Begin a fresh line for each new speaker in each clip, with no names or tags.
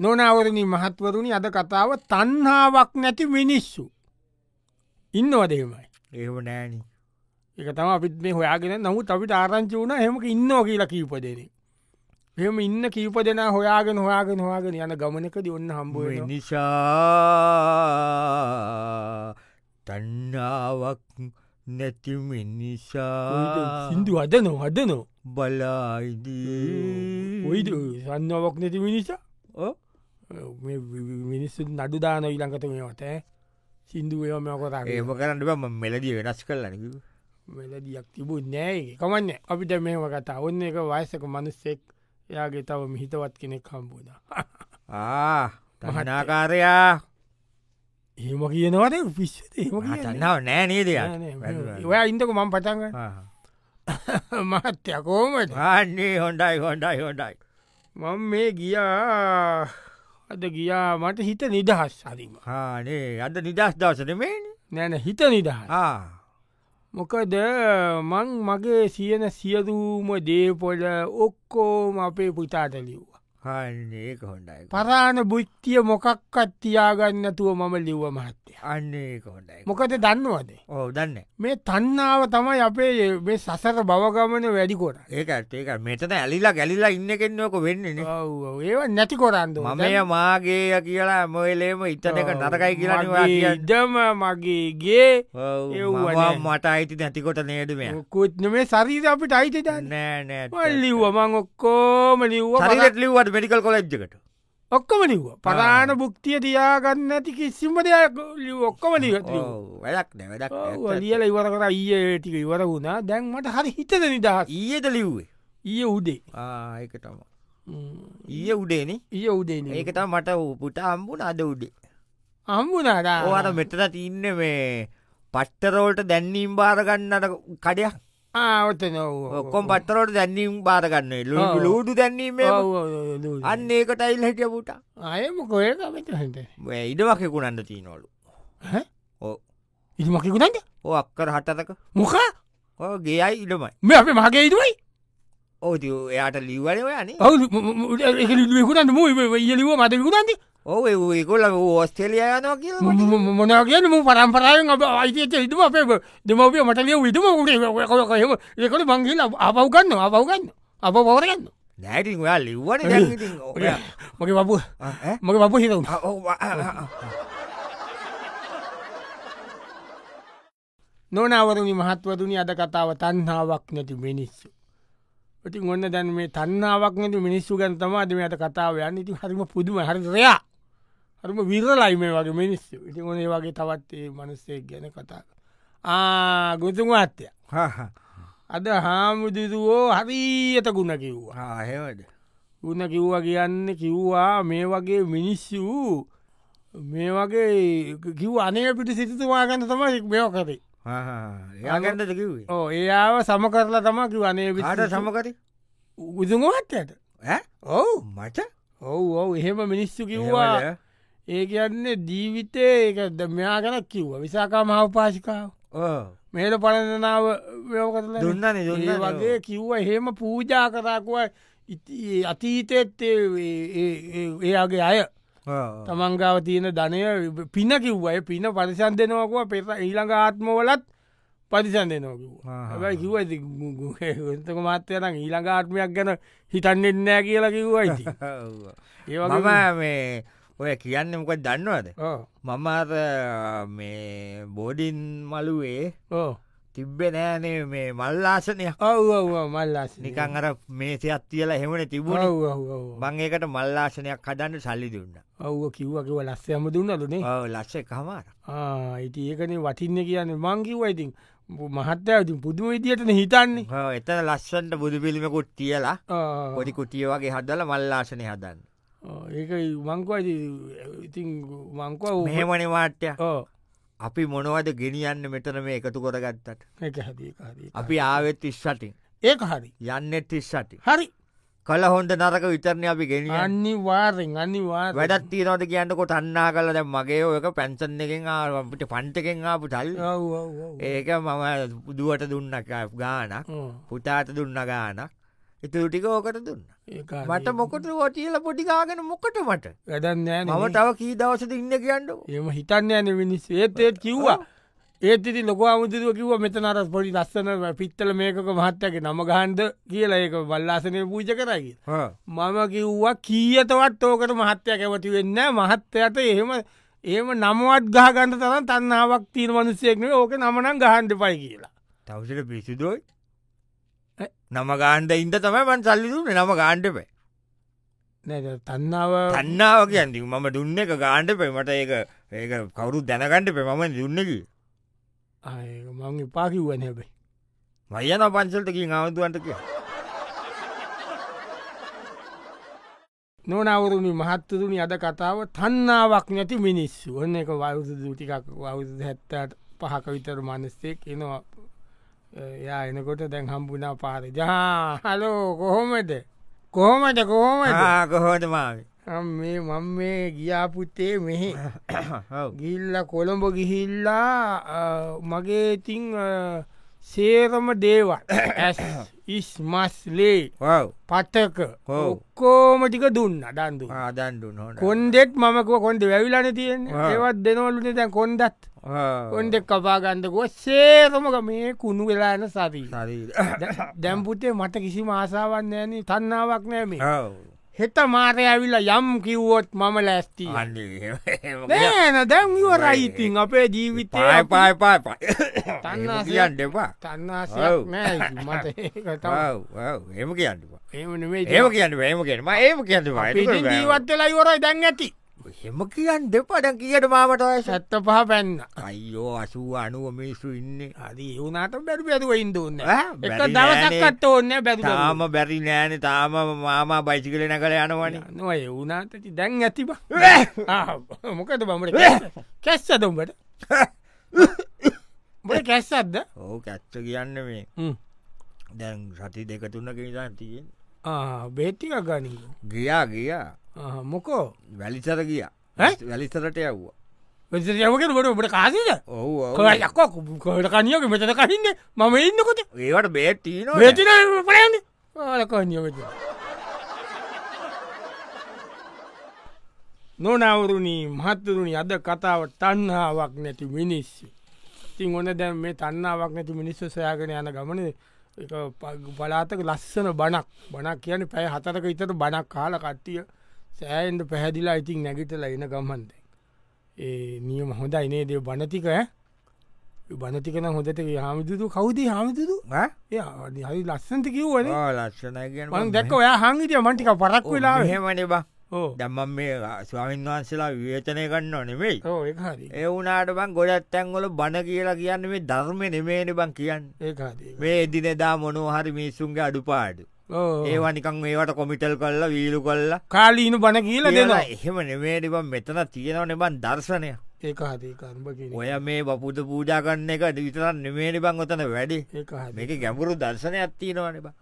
නොනවරණ මහත්වරුණි අද කතාව තන්හාාවක් නැති මිනිස්සු. ඉන්නවදේමයි.
ඒම නෑන
එක තම අපිත් මේ හොයාගෙන නමුත් අපිට ආරංචි වුණ හෙමක ඉන්නෝ කියලා කීපදෙන. එම ඉන්න කීප දෙෙන හොයාගෙන හොයාගෙන හොයාගෙන යන ගමනකද ඔන්න හම්බුව
නිසා තන්නාවක් නැතිමි නිසා
සිින්දු අද නො අද නො
බලායිදී
ඔයිද සන්නවක් නැති මිනිසා
ඔ?
මිනිස්සු නඩු දාන ඉලංකත මේවත සිින්දුවම කොතා
ඒම කරන්න බෑ, මම මෙලදිය වෙනස් කරලනකි
වෙලදියක් තිබූ නෑ කමන්න අපිට මෙම කතා ඔන්න එක වයසක මනුස්සෙක් එයාගේ තව මිහිතවත් කෙනෙක් කම්බුණ
තහනාකාරයා
හෙම කියනවද පිස්ස
තන්නාව නෑ නේද
ඔයා ඉන්දක මං පටන්ග මහත්තය කෝමට
ආන්නේ හොඩයි හොඩයි හොඩයි
මං මේ ගියා අද ගියා මට හිත නිදහස් හරිම
හානේ අද නිදස් දවසට මේ
නැන හිත නිදහස් මොකද මං මගේ සියන සියදූම දේපොල ඔක්කෝම අපේ පුතාට ලිව්වා
හන්නේ හොඩයි
පරාණ බුද්ධිය මොකක්කත් තියාගන්නතුව මම ලිව්ව මහත්තය.
අන්නේ හොඩයි
මොකද දන්නවද.
ඕ දන්න
මේ තන්නාව තමයි අපේ මේ සසර බවගමන වැඩි කොට.
ඒක ඒක මෙතන ඇලිලා ගැලිලා ඉන්න කෙන්නෝක වෙන්නේ
ඒව නැති කොරන්ද
මමය මාගේ කියලා මොයලේම ඉතනක නරකයි කියලා
ඉදම මගේගේ එව්ව නෑ.
මට අයිති නැතිකොට නේදම
කුත්න මේ සරීර අපිට අයිති දන්න
නෑ
ලිව්ව මං ඔක්කෝම ලිව්ව පරා-
රිට ලිවට පෙඩිකල් කොලෙජ්කට
ඔක්කම ලිව්ව පරාණ බුක්තිය තියාගන්න ඇති කිසිම දෙයක් ලිව් ඔක්කම ලිවතිව්වා.
වැඩක් නැවැඩක්
ලියල ඉවර කර ඊයේ ටික ඉවර වුණා දැන් මට හරි හිතද නිදහස්
ඊයට ලිව්වේ
ඊය උදේ
ඒක තම ඊය උඩේන
ඊය උදේන
ඒක තම මට පුට අම්බුන අද උඩේ
අම්බුනාදා
ඕට මෙතන තින්න මේ පට්ටරෝල්ට දැන්නීම් බාරගන්නට කඩයක්
ආවත නොව
ඔක්කොම් පටරෝට දැන්නීම් බාරගන්න
ඔව්.
ලූඩු දැන්නීම අන්න ඒකට අයිල් හැටිය පුට
අයම කොයකමට හට
ඉඩවකෙකුණන්න තිීනොලු
ඉති මකිකුටන්ට
ඕ අක්කර හටතක
මොක
ඕ ගේයි ඉඩමයි
මේ අපේ මගේ ඉතුවයි
ඕති එයාට ලිවලව යනේ
ඔවුකුටන්ට මූ ඉලිව මතකුටන්ද
ඕ ඒකොල්ල ඕස්ටෙලිය යනවා කියල
මොනා කියන මු පරම්පරායෙන් අප අයිතියට ඉතුම අපේ දෙමවපිය මටලිය විතුම උටේ ඒකට මංගේල අපවගන්න අපවගන්න අප පවරගන්න
නැටි ඔයා ලිව්වට
ඒ. මගේ බපු මගේ බපු හිතවුණ නොනවරුණි මහත්වතුනි අද කතාව තන්හාාවක් නැති මිනිස්සු. ඉති ඔන්න දැන් මේ තන්නාවක් නැති මිනිස්සු ගැන තමාදම ඇත කතාව යන්න ඉති හරිම පුදුම හරිරයා හරම විරලයි මේ වගේ මිනිස්සු ඉති ඕනේ වගේ තවත් ඒ මනුස්සෙක් ගැන කතා ආ ගොතුම අත්තය අද හාමුදුරුවෝ හරියට ගුණ කිව්වා
හෙමද
ගුණ කිව්වා කියන්න කිව්වා මේ වගේ මිනිස්සු මේ වගේ කිව් අනේ පිට සිතතුවාගන්න තමයි මෙෝ කරේ
යාගන්නද කිවේ
ඕ ඒාව සම කරලා තමා කිව් අනේ
ආට සමකති
උදුමත් ඇයට
ඔවු මට
ඔවු ඔව එහෙම මිනිස්සු කිව්වා ඒ කියන්නේ ජීවිතය ඒකද මෙයා ගැනක් කිව්ව විසාකා මහවපාශිකාව මේල පලනාව ව්‍යෝකරල
දුන්නන
ඒ වගේ කිව්ව එහෙම පූජා කරාකුව අතීතෙත් ඒ- ඒ- ඒ- ඒ- එයාගේ අය තමන්ගාව තියෙන ධනය පින කිව්වය පින පරිසන් දෙනවකුව පෙ ඊළඟ ආත්මවලත් පරිසන් දෙනෝකිවා
ආහා.
හැබයි කිව ගතක මාත්‍යයන ඊළඟ ආත්මයක් ගැන හිතන්නෙන්නෑ කියලා කිව්වයි
මම මේ ඔය කියන්න මොක දන්නවද මම අර මේ බෝඩින් මළුවේ තිබ්බෙ නෑනේ මේ මල්ලාසනය
ඔව්ව මල්ලාස්
නිකං අර මේසයක් තියලා හෙමන තිබුණ
ඔව්
මංඒකට මල්ලාසනයක් හදන්න සල්ලි දුන්න
කිව්ව කිව ලස්සයම දුන්නලුනේ
ලස්සේ කමාර
ඉති ඒකනේ වටින්න කියන්න මංකිවයිඉතින් මහත්තයඉතින් පුදුම විදියටන හිතන්නේ
එතන ලස්සන්ට බුදු පිළිමකුත් තියලා
ආ.
පොඩි කුටිය වගේ හදල මල්ලාසනය හදන්න
ආ, ඒක මංකවයි ඉතින් මංකව
මෙහෙමන වාට්‍ය
ඕ
අපි මොනවද ගෙනියන්න මෙතන මේ එකතු කොරගත්තට
එක හරි ඒක හරි
අපි ආවෙත් ඉස්සටින්
ඒක හරි
යන්නෙත් ඉස්සටි
හරි
කල හොඳ නරක විතරණය අපි ගෙනියන්න
අනිවාරෙන් අනිවාර
වැඩත් තියනොට කියන්නකොට අන්නා කල දැ මගේ ඔයක පැන්සන් එකෙන් ආපිට පන්ටකෙන් ආපු ටල් ඒක මම දුවට දුන්නක ගානක් පුතාට දුන්න ගානක් ඉතුරුටික ඕකට දුන්න මට මොකට වටියල පොඩිකාගෙන මොකට මට
වැඩන්නෑ
මම තව කී දවසට ඉන්න කියන්නඩ
එම හිතන්න යන මිනිස් ඒත් ඒත් කිව්වා ඒත් ඉති ලොක අමුදුරුව කිව මෙතනර පොඩි ලස්සන පිත්තල මේකක මහත්තයගේ නම ගහන්ද කියලා ඒක බල්ලාසනය පූජ කරග මම කිව්වා කීයතවත් ඕකට මහත්තය කැමති වෙන්න මහත්තයට එහෙම ඒම නමුවත් ගාගන්ට තරන් තන්නාවක් තීර මනුස්සයෙක්න ඕක නමනම් ගහන්ඩ පයි කියලා
තවසට පිසිදුවයි නම ගාණ්ඩ ඉන්ද තමයිමන් සල්ලිදුන නම ගාණ්ඩප
නැ තන්නාව
තන්නාව කියන්දි මම දුන්න එක ගාණ්ඩපේ මට ඒක ඒක කවුරු දැනගණ්ඩපේ මම දුන්නකි
ආ, ඒක මං එපා කිව්වන හැබයි
මයන පන්සල්ටකින් ආමුදුවන්ට කිය
නොනවරුණි මහත්තතුනි අද කතාව තන්නාවක් නැති මිනිස්සු ඔන්න එක වරුදු දටිකක් වරුදු හැත්තට පහක විතර මනස්සෙක් එනවා එයා එනකොට දැන් හම්බුනා පාර ජා හලෝ කොහොමද කොහොමට කොහොමද
කොහෝට මාව
මේ මං මේ ගියාපුත්තේ මෙහෙ ගිල්ල කොළඹ ගිහිල්ලා අ, මගේ ඉතිං අ, සේරම දේවල් ඇස් ඉස් මස්ලේ
ඔව්
පටක
ඔව්.
ඔක්කෝමටික දුන්න අඩන්දු
ආදන්ඩු නොට
කොන්ඩෙත් මමකුව කොන්ඩ වැවිලන තියෙන
ආ.
ඒවත් දෙනවලුන දැන් කොන්ඩත් කොන්ඩෙක් කපාගන්ඩකුව සේරමක මේ කුණු වෙලා එන සරී දැම්පුතේ මට කිසි මාසාවන් යන තන්නාවක් නෑමේ හෙත මාරය ඇවිල්ලා යම් කිව්වොත් මම ලැස්ති නෑන දැන් වරයිඉතින් අපේ ජීවිතය
පාය පාය පාය පා
තන්නා
කියන්න එපා
තන්නාසයක්
ඔව්.
නෑ ඉතින් මට ඒක තමයි.
ඔව්, ඔව්, එහෙම කියන්නවා
එහෙම නෙමෙයි ඉතින්.
ඒම කියන්න ඒම කියෙනම ඒම
අපි ඉතින්
කියන්න
ජීවත් වෙලා ඉවරයි දැන් ඇති
හෙම කියන්න දෙපඩන් කියට මාමට වයස
සැත්ත පහ පැන්න
අයිෝ අසුව අනුව මිනිස්සු ඉන්න
අදී ඒවුනාට බැරි බැරුව ඉන්දන්න
ඈ,
එක
බැරි නෑනේ.
දවසක්කත් ඕන්න
තාම
බැරි
බැරි නෑන තාම මාමා බයිසිකල නකල යනවන
නො ඒවුනාටති දැන් ඇතිබ මොකද බමට කැස්ස දුම්බට බ කැස්සත්ද
ඕ කැත්ත කියන්න මේ දැන් සති දෙක තුන්න කිනිසා තියෙන්
බේටික ගනිග
ගියා ගියා
මොකෝ
වැලිසර ගිය
ඈ?
වැලිසරට යව්වා
යමකට බොට ඔබට කාසිද
ඔව් ඔව්.
යක්කෝ කට කනියක මෙතන කහින්න මම ඉන්නකොට
ඒවට බේටීන
බේටින පලන්න ආලකනියමට නොනවරුණී මහත්තරුණි අද කතාව තන්නාවක් නැති මිනිස්සු තින් ඔන්න දැන් මේ තන්නාවක් නැති මිනිස්සු සොයාගෙන යන ගමන එක ප- බලාතක ලස්සන බණක් බණක් කියන පැය හතරක ඉතට බණක් කාල කට්ටිය සෑන්ට පැහැදිලා ඉතින් නැගිටලා එන ගමන්ද ඒ නියම හොඳයි නේදේ බණතික ඈ? ඒ බණතිකන හොඳට හාමිදුදු කවුදේ හාමිදුදු ඒ හරි හරි ලස්සන්ට කිව්වන
ලක්ෂණ
මං දැක්ක ඔයා හංගිටිය මන්ටික පරක් වෙලා
හෙමනබ
ඕ
දම්මම් මේ ස්වාමීන් වහන්සලා විවේචනය කන්න නෙවෙයි
ඕ ඒ හරි
ඒ වුනාට බං ගොඩත් තැන්ගොල බණ කියලා කියන්න මේ ධර්ම නෙමේනි බං කියන්න
ඒකාදී
මේ එදිනෙදා මොනෝ හරි මිනිසුන්ගේ අඩුපාඩු
ඕ
ඒවනිකං ඒවට කොමිටල් කල්ලා වීලු කොල්ලා
කාලීන බණ කියීල දෙෙන
කියලා එහෙම නෙමේනිබම් මෙතන තියෙනව නෙබන් දර්ශනය
ඒකාදී කරම්බකින
ඔය මේ බපුද පූජා කරන්න එක විතරන් නෙමේනි බං ඔතන වැඩි
ඒකාද
මේක ගැඹුරු දර්ශනයක් තියෙනවන බ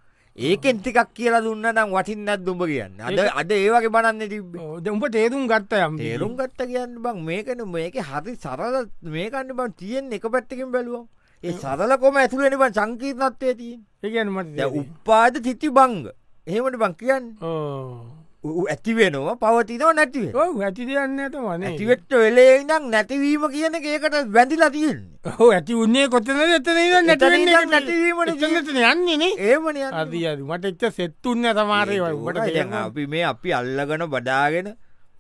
ඒකෙන් තිකක් කියලා දුන්න නම් වටින්නත් දුඹ කියන්න අද අද ඒවගේ බණන්න තිබ්බේ
ඕද උඹ තේරුම් ගත්ත යම්
තේරුම් ගත්ත කියන්න බං මේකන මේක හරි සරල මේකන්න බං තියෙන් එක පැත්තිකින් බැලුවම් ඒ සරල කොම ඇතුලෙන බන් සංකීර්ණත්වය තියෙන්
ඒගැන මට
දැ උපාද තිති බංග එහෙමට බං කියන්න
ඕ
ඌ ඇතිවෙනවා පවතිනව නැතිව
ඇති දෙයන්න ඇත වන
ඇතිවෙච්ච වෙලේ නම් නැතිවීම කියන එක ඒකට වැඳිලා තියන්නේ
හෝ ඇති උන්නේ කොතන එත
එතන ඉඳන් නැතිවීමට
නැටීමට යන්නේනේ
ඒමන
අද මට එච්ච සෙත්තුන්න තමාරයවට
අපි මේ අපි අල්ලගන බඩාගෙන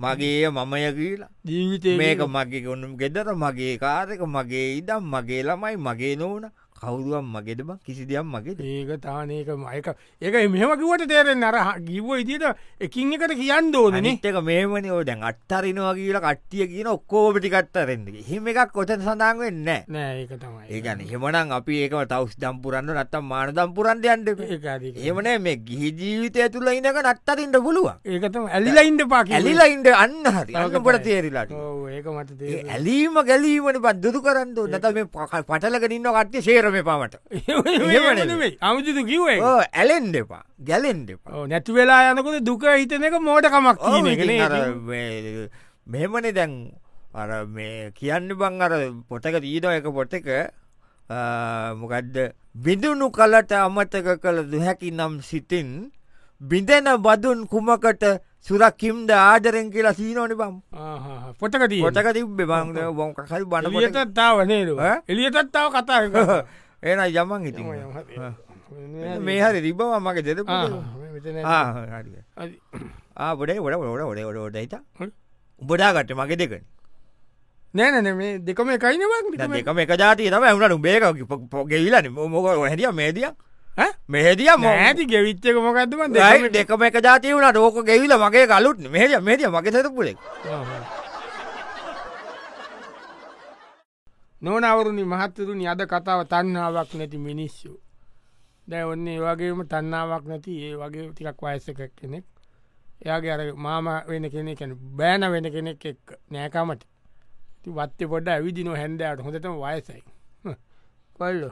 මගේ මමය කියලා
ජීවිතය
මේක මගේ ගොන්නම් ගෙදර මගේ කාරක මගේ ඉදම් මගේ ළමයි මගේ නොවන කවුරුවන් මගෙදම කිසි දෙයක් මගේද
ඒක තානක මයක ඒක මෙම කිවට තේරෙන් අර ගිව ඉදිට එකින් එකට කියන්න දෝනනේ
නිත්තක මේමනි ඕ දැන් අත්තරිනවා කියලා කට්ටිය කියන ඔක්කෝපටිකත්තරෙන්දගේ හෙම එකක් කොතන සඳන් වෙන්න
නෑ ඒක තමයි
ඒගන හෙමනම් අපි ඒක තවස් දම්පුරන්න නත්තම් මාන දම්පුරන්ට යන්ට
ඒකාදී
එමන මේ ගිහි ජීවිතය තුළ ඉඳක නත්තරින්ට පුළුවන්
ඒකතම ඇලිලයින්ඩ පාක
ඇලිලයින්ට අන්න හරි අන්න
තවක
පොට
තමයි.
තේරිලාට
ඒක මට
ඒ
තේ
ඇලීම ගැලීමට බද්දුදු කරන්න නත මේ පක- පටලක නින්න කට්ටය සේරම පමට එහෙම නෙමෙයි.
අමුජුතු කිවේ
ඇලෙන් දෙපා ගැලෙන් දෙපා
නැති වෙලා යනකොට දුක හිතන එක මෝටකමක්
ඔව්
කියන එක
ඉතින්
නේ.
අර මේ- මෙහෙමනේ දැන් අර මේ කියන්න බං අර පොටක දීන එක පොට එක මොකදද බිඳුණු කලට අමතක කළ දුහැකි නම් සිතින් බිඳෙන බදුන් කුමකට සුරකිම්ද ආදරෙන් කියලා සීනෝනි බම්
පොටකදී
ගොටක තිබ්බේ බං බොකහල් බණ
එලියතත්තාව නේරු
ඈ?
එලියතත්තාව කතා
එන යමන් ඉති මේ හරි රිබව මගේ දෙද ආබොඩේ ොඩ ොඩ ොඩ ොඩ ොඩ හිත
හ්ම්.
උබඩාගට මගේ දෙකන
නෑනන මේ දෙකම එකයිනවා
එකම එක ජාතිය තම ඇුණට බේක පොගෙවිලන මොක හැදිය මේදිය
ඈ?
මෙහෙදිය ම
ඇති ගෙවිච්චක මොකක්දම
දෙයි දෙකම එක ජාතිය වුණට ඕක ගෙවිල මගේ කලුත් මෙහෙදිය මේදිය මගේ සත පුලෙක්
නොනවරුණි මහත්තරුණි අද කතාව තන්නාවක් නැති මිනිස්සු දැ ඔන්න ඒ වගේම තන්නාවක් නැති ඒ වගේ තිකක් වයසක කෙනෙක් එයාගේ අර මාම වෙන කෙනෙ කැන බෑන වෙන කෙනෙක් එක් නෑකමට ති වත්ත පොඩ ඇවිදින හැන්ඩට හොඳටම වයසයි හ්ම්. කොල්ලො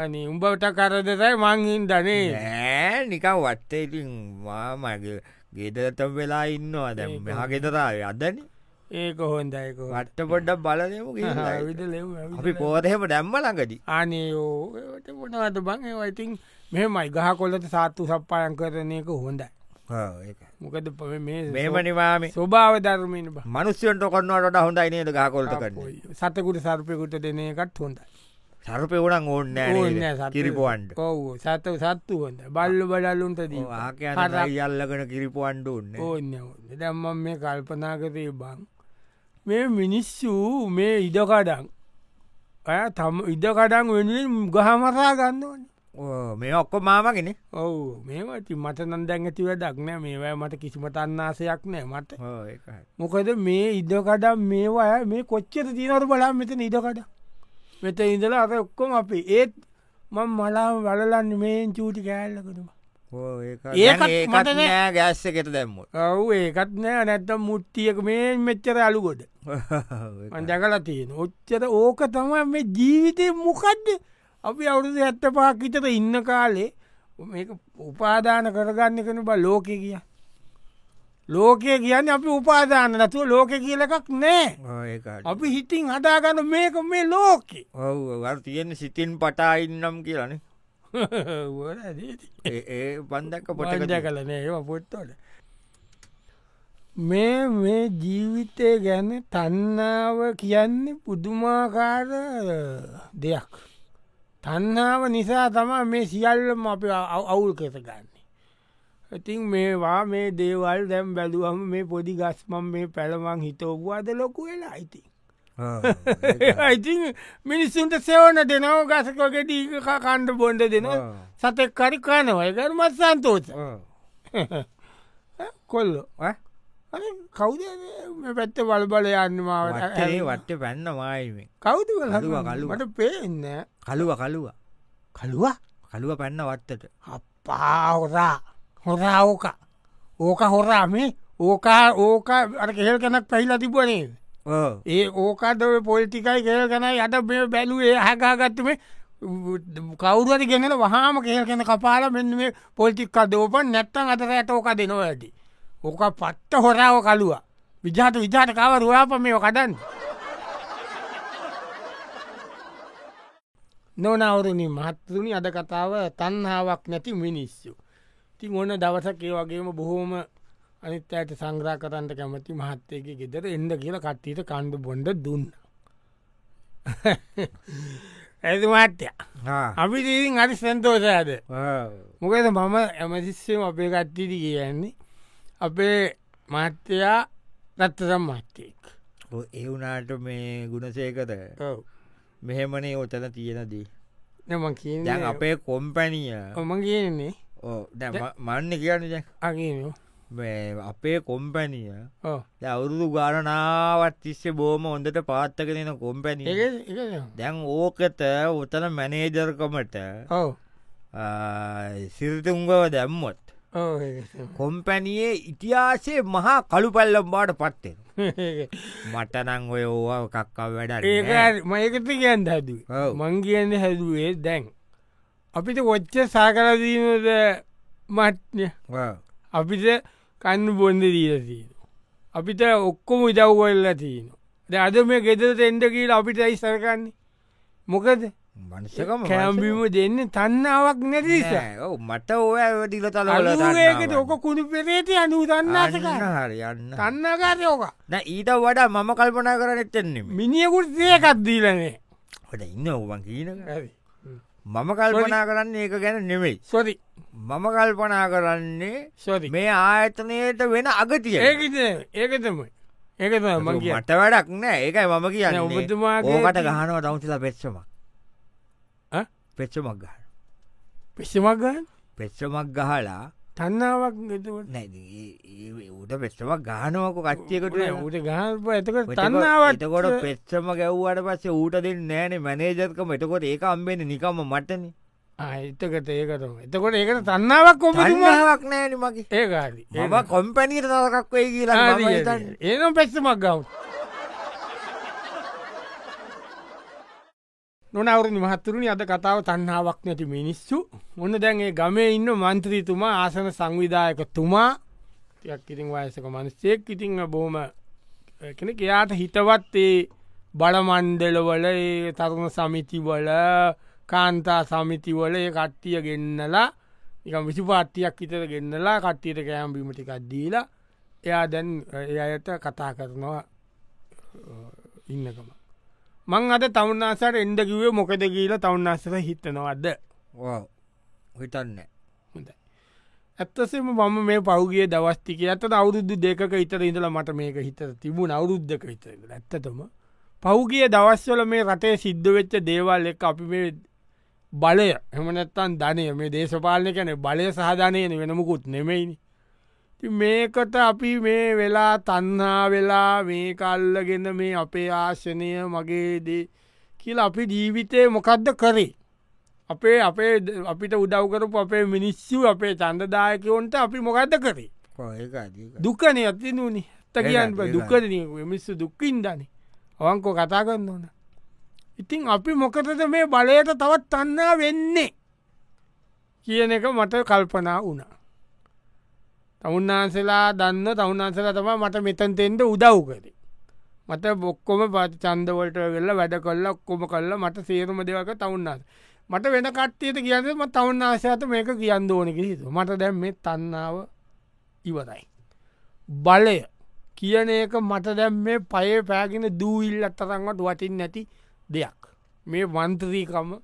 අනි උඹට කරදසයි මංහින් දනේ
නෑ නිකම් වත්තේ ඉතින් මා මගේ ගෙදරතම් වෙලා ඉන්නවා දැම් මෙහ ගෙදරාව අදන
ඒක හොන්දයක
වට්ට පොඩ්ඩක් බලනමු
විද ලෙව්
අපි පෝතහෙම දැම්ම ළඟදී
ආනයෝ මොනවත බං ඒවයිතින් මෙමයි ගහ කොල්ලට සාත්තු සප්පායන් කරනයක හොඳයි මොකද ප මේ
මේමනිවාමේ
ස්වභාව ධර්මෙන් බ
මනුස්්‍යයන්ට කොන්නවට හොඳයි නේද ගහකොල්ට කරන්නේ
සතකුට සර්පයකුට දෙන එකත් හොඳයි
සරපය වුණන් ඕන්න කිරිපුවන්ට
ඔවු සත සත්තු හොඳ බල්ල බලලුන්ට දී
ආකයන යල්ලගෙන කිරිපුවන්ඩ උන්න
ඕන්න දැම්මම් මේ කල්පනාකරේ බං මේ මිනිස්සු මේ ඉඩකඩන් ඇය තම ඉඩකඩන් වෙනින් ගහමරා ගන්න ඕන
මේ ඔක්කො මාමගෙන
ඔවු මේමති මට නන් දැඟති වැඩක් නෑ මේවැ මට කිසිම තන්නාසයක් නෑ මට මොකද මේ ඉඩකඩ මේවා මේ කොච්චර තිීනවට බලා මෙත ඉඩකඩ මෙත ඉඳලා අර ඔක්කොම අපි ඒත් මං මලා වලලන්න මේෙන් චූටි කෑල්ලකටම ඒකත් මට නෑ.
ඒකත්නෑ ගැස්ස එකෙට දැම්මුත්
ඔවු ඒකත් නෑ නැත්තම් මුට්ටියක මේ මෙච්චර අලුගොඩ අන්දකල තියෙන ඔච්චර ඕක තම මේ ජීවිතය මොකක්ද අපි අවුරුදු ඇත්ත පාකිතට ඉන්න කාලේ මේ උපාධාන කරගන්න කන බ ලෝකය කිය ලෝකය කියන්න අපි උපාධාන නතුව ලෝක කියල එකක් නෑ අපි හිතින් හදාගන්න මේක මේ ලෝකෙ
ඔවුවර් තියෙන සිතින් පටා ඉන්නම් කියලන ඒ පන්දක්ක පොට
පොටද කලන ඒ පොත්තොට මේ මේ ජීවිතය ගැන තන්නාව කියන්නේ පුදුමාකාර දෙයක් තන්නාව නිසා තමා මේ සියල්ලම අප අවුල් කෙසගන්නේ ඉතින් මේවා මේ දේවල් දැම් බැලුවම මේ පොඩි ගස්මම් මේ පැළමං හිතෝපුවාද ලොකු වෙලා අයිති ඉතින් මිනිස්සුන්ට සෙවන දෙනව ගසකොගෙට ඒක කණ්ඩ බොන්ඩ දෙනවා සතෙක් කරි කනවයි කරුමත් සන්තෝස කොල්ලො කවුද මේ පැත්ත වල් බල යන්නමාවට
වටේ වට්ට පැන්න මායිමෙන්
කෞුද
කළුව, කළුව.
මට පේන්න
කළුව කළුව
කළුවා
කළුව පැන්න වත්තට
අපා හොරා හොරා ඕක ඕක හොරා මේ ඕකා ඕක අර කෙල් කැනක් පැහිලා තිබනේ
ඕ
ඒ ඕකදව පොල්ටිකයි කෙල් කැනයි අට මේ බැලුවේ හකාගත්තුමේ කවුරුවරි ගෙනෙන වහාම කෙල් කෙන කපාල මෙන්න මේ පොල්ටික් අදෝපන් නැත්තන් අතර ඇට ඕක දෙනොව ඇති. ඕක පත්ත හොරාව කලුව විජාත විජාට කව රයාප මේෝ කඩන්න. නොනවරුණි මහත්තරුණි අද කතාව තන්හාාවක් නැති මිනිස්සු. තින් ඔන්න දවසක් ඒ වගේම බොහෝම අනිත් අයට සංග්‍රා කරන්ට කැමති මහත්තයක ගෙදර එන්ඩ කියල කට්ටීට කණ්ඩ බොන්ඩ දුන්න. ඇතුමාත්‍ය අපි දීන් අරි සැන්තෝසයද මොකද මම ඇමතිස්සම අපේ කට්ටිට කියන්නේ අපේ මත්‍යයා රත්තසම් මත්තයෙක්
ඒ වුනාට මේ ගුණසේකත මෙහෙමනේ ඔතන තියෙනදී
නම කිය
දැන් අපේ කොම්පැනිය
ඔම කියන්නේ
ඕ දැන් ම- මන්න කියන්න දැන්
අගේනෝ
මේ අපේ කොම්පැනිය
ඕ
දැන් අවුරුදු ගණනාවත් තිස්සේ බෝම හොඳට පාත්තක දෙන කොම්පැනිය
ඒ ඒ
දැන් ඕකත උතන මැනේජර්කමට
ඔව
සිරිතුංගව දැම්මොත්
ඕ
කොම්පැනියේ ඉතිහාසේ මහා කළු පැල්ලම් බාට පත්තෙන
ඒ
මටනං ඔය ඕවා කක්කා වැඩ
ඒක මයකත කියන්න හැදුව
ඔව්.
මං කියන්න හැදුවේ දැන් අපිට කොච්ච සාකරදීමද මට්්‍ය අපිට කන්න බොන්ද දීලතිීන අපිට ඔක්කොම ඉදව්වල්ල තියන අද මේ ගෙදර තෙන්ඩ කියීල අපිට යිස්සරකන්නේ මොකද
මනුෂකම
කෑම්බිම දෙන්න තන්නාවක් නැතිස
මට ඕය වැඩිල තල
ඒකට ඔක කුණු පෙරේති අනු තන්නාසකර
හරි යන්න
තන්නකාරය ඕක
නෑ ඊට වඩා මම කල්පනා කරන එත්තෙන්නේම
මිනිියකුට සේකත් දීලනේ
හට ඉන්න ඔවන් කියීන මම කල්පනා කරන්න ඒක ගැන නෙවෙයි
සොරි
මම කල්පනා කරන්නේ
සොරි
මේ ආයතනයට වෙන අගතිය
ඒකත ඒකතම ඒකත මං කිය
මට වැඩක් නෑ ඒකයි මම කියන්න
නෑ, ඔබතුමාගේ-
ඕකට ගහනවා තවන්සලා පෙච්චමක්
ඈ?
පෙච්චමක් ගහන
පිස්සමක් ගන්න
පෙච්චමක් ගහලා
තන්නාවක් ගතුවට
නැ ඌට පෙච්චමක් ගහනවක කච්චයකට
ඌට ගහපු ඇතකට තන්නාවට
එතකොට පෙච්චම ගැව්වට පස්සේ ඌට දෙන්න නෑනේ මැනේජර්කම එතකොට ඒක අම්බෙන නිකම මටන
එතකට ඒකතම එතකොට ඒකට තන්නාවක් ඔබතුමා
ක් නෑන මගේ
ඒකාරි
එම කොම්පැනීට තවකක් වේ කියලා මම හිතන්නේ.
ඒනම් පැස්සමක් ගව් නොනවරු මහත්තුරුණි අද කතාව තන්නාවක් නැති මිනිස්සු ඔන්න දැන්ගේ ගමේ ඉන්න මන්ත්‍රීතුමා ආසන සංවිධායක තුමා තියක් ඉතින් වයසක මනස්සෙක් ඉතිං බෝම කෙන එයාට හිතවත් ඒ බලමන්ඩලවල ඒ තරුණ සමිතිවල කාන්තා සමිතිවල ඒ කට්ටිය ගෙන්නලා එක විසි පාට්ටියක් හිතර ගෙන්නලා කට්ටියට කෑම් බිමටිකක්දීලා එයා දැන් ඒ අයට කතා කරනවා අ, ඉන්නකම මං අද තවන්නාසර එන්ඩ කිවේ මොකද කියලා තවන්නාසර හිතනවද
ඔව්. හිතන්න
හොඳයි. ඇත්තසෙම මම මේ පෞගේ දවස්තික ඇත අවුරුද්ධ දෙක ඉතර ඉඳල මට මේක හිතර තිබුණ අවුරුද්ධක ඉතර ඉඳලා. ඇත්තටම පෞගිය දවස්වල මේ රටේ සිද්ධ වෙච්ච දේවල් එක අපි මේ බලය එමනැත්තන් ධනය මේ දේශපාලන කැන බලය සහධනයන වෙනමකුත් නෙමෙයිනි. ඉතින් මේකට අපි මේ වෙලා තන්හා වෙලා මේ කල්ලගෙන මේ අපේ ආශනය මගේදේ කියල අපි ජීවිතය මොකක්ද කරේ. අපේ අපේ ද- අපිට උදව්කරපු අපේ මිනිස්සු අපේ චන්දදායකවන්ට අපි මොකක්ද කරේ. දුකන ඇති නනි ඇත්ත
ඒකයි,
කියන්න
ඒකයි.
දුකරන මිස්සු දුක්කින් දන අවංකෝ කතා කරන්න ඕන ඉතින් අපි මොකටද මේ බලයට තවත් තන්නා වෙන්නේ කියන එක මට කල්පනා වුණා තමුන්නාන්සලා දන්න තවුන්නාන්සලා තම මට මෙතන්තෙන්ට උදව් කරේ මත බොක්කොම පත් චන්දවලට වෙල්ල වැඩ කොල්ල ඔක්කොම කල්ල මට සේරුම දෙවක තවුන්නාස මට වෙන කට්ටියට කියන්නම තවන්නාසයත මේක කියන්න ඕනක හිතු මට දැම් මේ තන්නාව ඉවරයි බලය කියන එක මට දැම් මේ පය පෑගෙන දූවිල් අත්තරංවට වටින් නැති දෙයක් මේ වන්ත්‍රීකම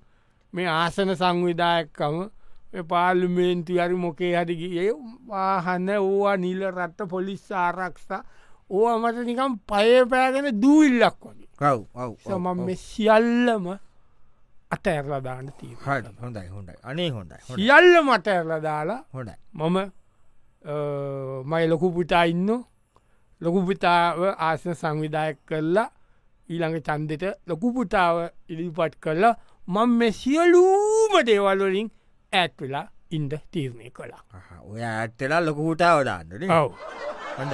මේ ආසන සංවිධායකම ඔය පාර්ලිමේන්තු හරි මොකේ හරිගේ වාහන ඕවා නිල රත්ත පොලිස් ආරක්ෂා ඕ මට නිකම් පය පෑගෙන දූවිල්ලක් වගේ
කව්
සමන් මේ සියල්ලම අත ඇරලදාන්න තිීර
හරි හොඳයි හොඳයි අනේ හොඳයි හොඳයි,
සියල්ල මට ඇරලදාලා
හොඳයි
මම අ, මයි ලොකු පුතා ඉන්න ලොකු පුතාව ආසන සංවිධාය කරලා ඊළඟ චන්දෙට ලොකු පුතාව ඉදිරිපත් කරලා මං මෙ සියලූම දේවල්වලින් ඇත් වෙලා ඉන්ඩ තීරණය කළා
අහ, ඔය ඇත්තලා ලොකහුටාවදාන්නන
ඔව
හොඳ